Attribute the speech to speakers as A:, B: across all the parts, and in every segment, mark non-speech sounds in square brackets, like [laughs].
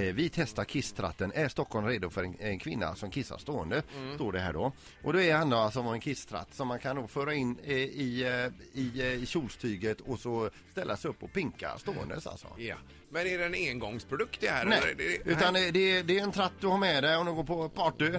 A: Eh, Vi testar kisstratten. Är Stockholm redo för en, en kvinna som kissar stående?
B: Mm.
A: Står det här då. Och då är han då som har en kisstratt som man kan då föra in eh, i, eh, i, eh, i kjolstyget och så ställa sig upp och pinka ståendes alltså.
B: Ja. Men är det en engångsprodukt det här?
A: Nej,
B: eller? Det- det-
A: utan
B: nej.
A: eh, det, är- det är en tratt du har med dig om du går på party.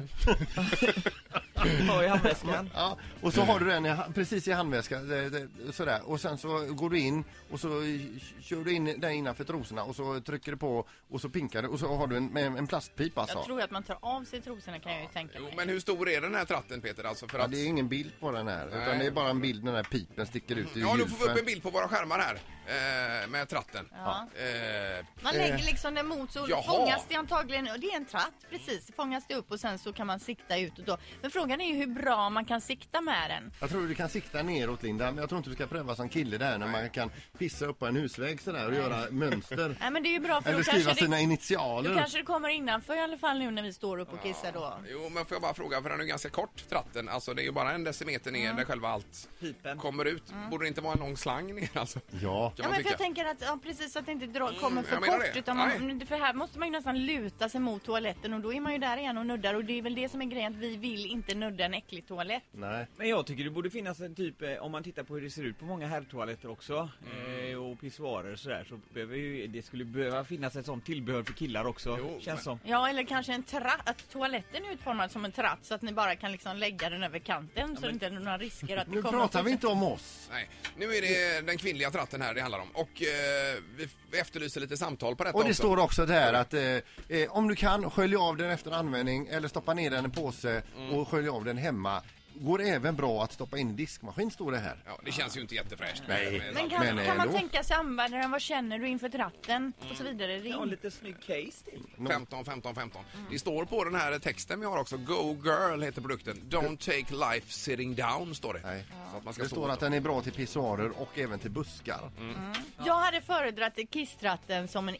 C: Oj, handväskan.
A: Ja, och så har du den i, ha- precis i handväskan eh, eh, sådär. Och sen så går du in och så eh, kör du in den innanför trosorna och så trycker du på och så pinkar du och så har du en, med en plastpipa alltså.
C: Jag tror att man tar av sig trosorna kan jag ju tänka
B: Jo,
C: mig.
B: men hur stor är den här tratten Peter? Alltså för
A: Ja,
B: att...
A: det är ingen bild på den här, utan
B: Nej.
A: det är bara en bild när den här pipen sticker ut i
B: Ja, nu får vi upp en
A: ljuset.
B: bild på våra skärmar här eh, med tratten.
C: Ja.
B: Eh,
C: Man lägger liksom den mot så
B: Jaha.
C: fångas det antagligen, och det är en tratt precis, fångas det upp och sen så kan man sikta utåt då. Men frågan är ju hur bra man kan sikta med den.
A: Jag tror du kan sikta neråt Linda, men jag tror inte du ska pröva som kille där när man kan pissa upp på en husväg sådär och göra mönster.
C: Nej men det är ju bra för
A: Eller
C: då
A: skriva
C: kanske,
A: sina
C: det, då
A: initialer.
C: kanske det kommer innanför i alla fall nu när vi står upp och kissar då.
B: Jo, men får jag bara fråga, för den är ju ganska kort tratten. Alltså det är ju bara en decimeter ner
A: Mm.
B: där själva allt kommer ut. Borde det inte vara en lång slang ner alltså?
A: Ja.
B: Kan
C: Ja
B: man tycka.
C: men för
B: Mm,
C: jag tänker att, ja, precis så att det inte dra, kommer för
B: jag menar
C: kort
B: det.
C: utan man, för här måste man ju nästan luta sig mot toaletten och då är man ju där igen och nuddar och det är väl det som är grejen att vi vill inte nudda en äcklig toalett.
A: Nej.
D: Men jag tycker det borde finnas en typ, eh, om man tittar på hur det ser ut på många herrtoaletter också eh, och pissoarer och sådär så behöver ju, det skulle behöva finnas ett sånt tillbehör för killar också,
B: Jo,
D: känns
B: men-
D: som.
C: Ja, eller kanske en tratt. Att toaletten är utformad som en tratt så att ni bara kan liksom lägga den över kanten så det inte är några risker att det
A: Nu
C: kommer...
A: pratar vi inte om oss.
B: Nej, nu är det den kvinnliga tratten här det handlar om. Och eh, vi f- efterlyser lite samtal på detta
A: Och det
B: också.
A: står också där att eh, eh, om du kan skölj av den efter användning eller stoppa ner den i en påse
B: Mm.
A: och skölj av den hemma. Går även bra att stoppa in i diskmaskin står det här.
B: Ja, det känns ju inte jättefräscht.
A: Nej.
C: Men kan,
A: Men, eh,
C: kan man
A: då?
C: tänka sig använda den? Vad känner du inför tratten? Och så vidare. Ring.
D: Ja, lite snygg case till.
B: 15, 15, 15. Det står på den här texten vi har också, Go Girl heter produkten. Don't take life sitting down står det.
A: Nej.
B: Så att man ska
A: Det
B: stå
A: står
B: upp.
A: att den är bra till pissoarer och även till buskar.
C: Jag hade föredragit kisstratten som en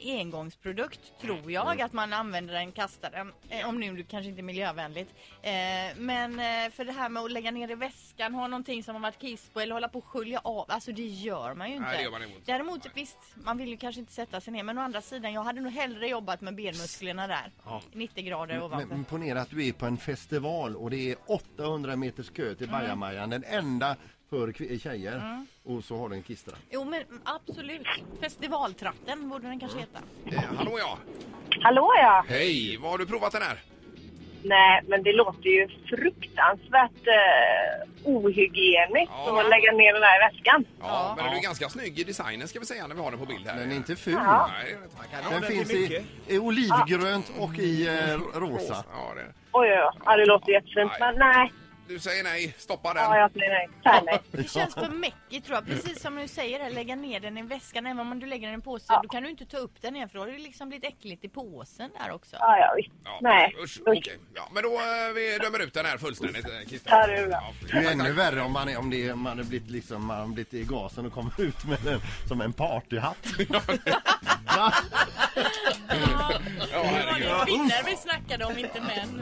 C: engångsprodukt,
B: Mm.
C: tror jag. Att man använder den, kastar den. Eh, Om nu det kanske inte är miljövänligt. Eh, men eh, för det här med att lägga ner i väskan, ha någonting som har varit kiss på eller hålla på och skölja av. Alltså det gör man ju inte.
B: Nej, det gör man inte.
C: Däremot, visst, man vill ju kanske inte sätta sig ner. Men å andra sidan, jag hade nog hellre jobbat med benmusklerna där. 90
B: Mm,
C: grader
A: Men,
C: ovanför.
A: men ponera att du är på en festival och det är 800 meters kö till Bajamajan, den enda för kvi- eh, tjejer. Och så har du en kistra.
C: Jo men absolut. Festivaltratten borde den kanske heta.
B: Eh, hallå ja!
E: Hallå ja!
B: Hej! Vad har du provat den här?
E: Nej, men det låter ju fruktansvärt eh, ohygieniskt
B: Ja.
E: att lägga ner den här väskan.
B: Ja, men den är ju ganska snygg i designen ska vi säga när vi har den på bild här.
A: Den är inte ful.
E: Ja.
B: Nej, det är rätt.
A: Den
D: den
A: finns
D: till
A: i,
D: mycket.
A: i olivgrönt och i eh, rosa.
B: Ja, det är det.
E: Oj, oj, oj. Ja, det låter jättefint. Men nej,
B: Du säger nej, stoppa den.
E: ja, jag säger nej. Säg
B: [laughs]
E: nej.
C: Det känns för mäckigt tror jag. Precis som du säger, här, lägga ner den i väskan. Även om du lägger den i en påse,
E: Ja.
C: då kan du inte ta upp den igen för då har det liksom blivit äckligt i påsen där också.
E: Ja, ja, visst.
B: Ja,
E: Nej,
B: Usch,
E: usch.
B: okej. Ja, men då eh, vi dömer ut den här fullständigt, eh, Christer.
E: Ja, det är bra.
B: Ja,
A: Det är ju ännu värre om man, är, om det är, man har blivit, liksom, man har blivit i gasen och kommer ut med den som en partyhatt. Va?
B: ja, herregud.
C: det kvinnor vi snackade om, inte män.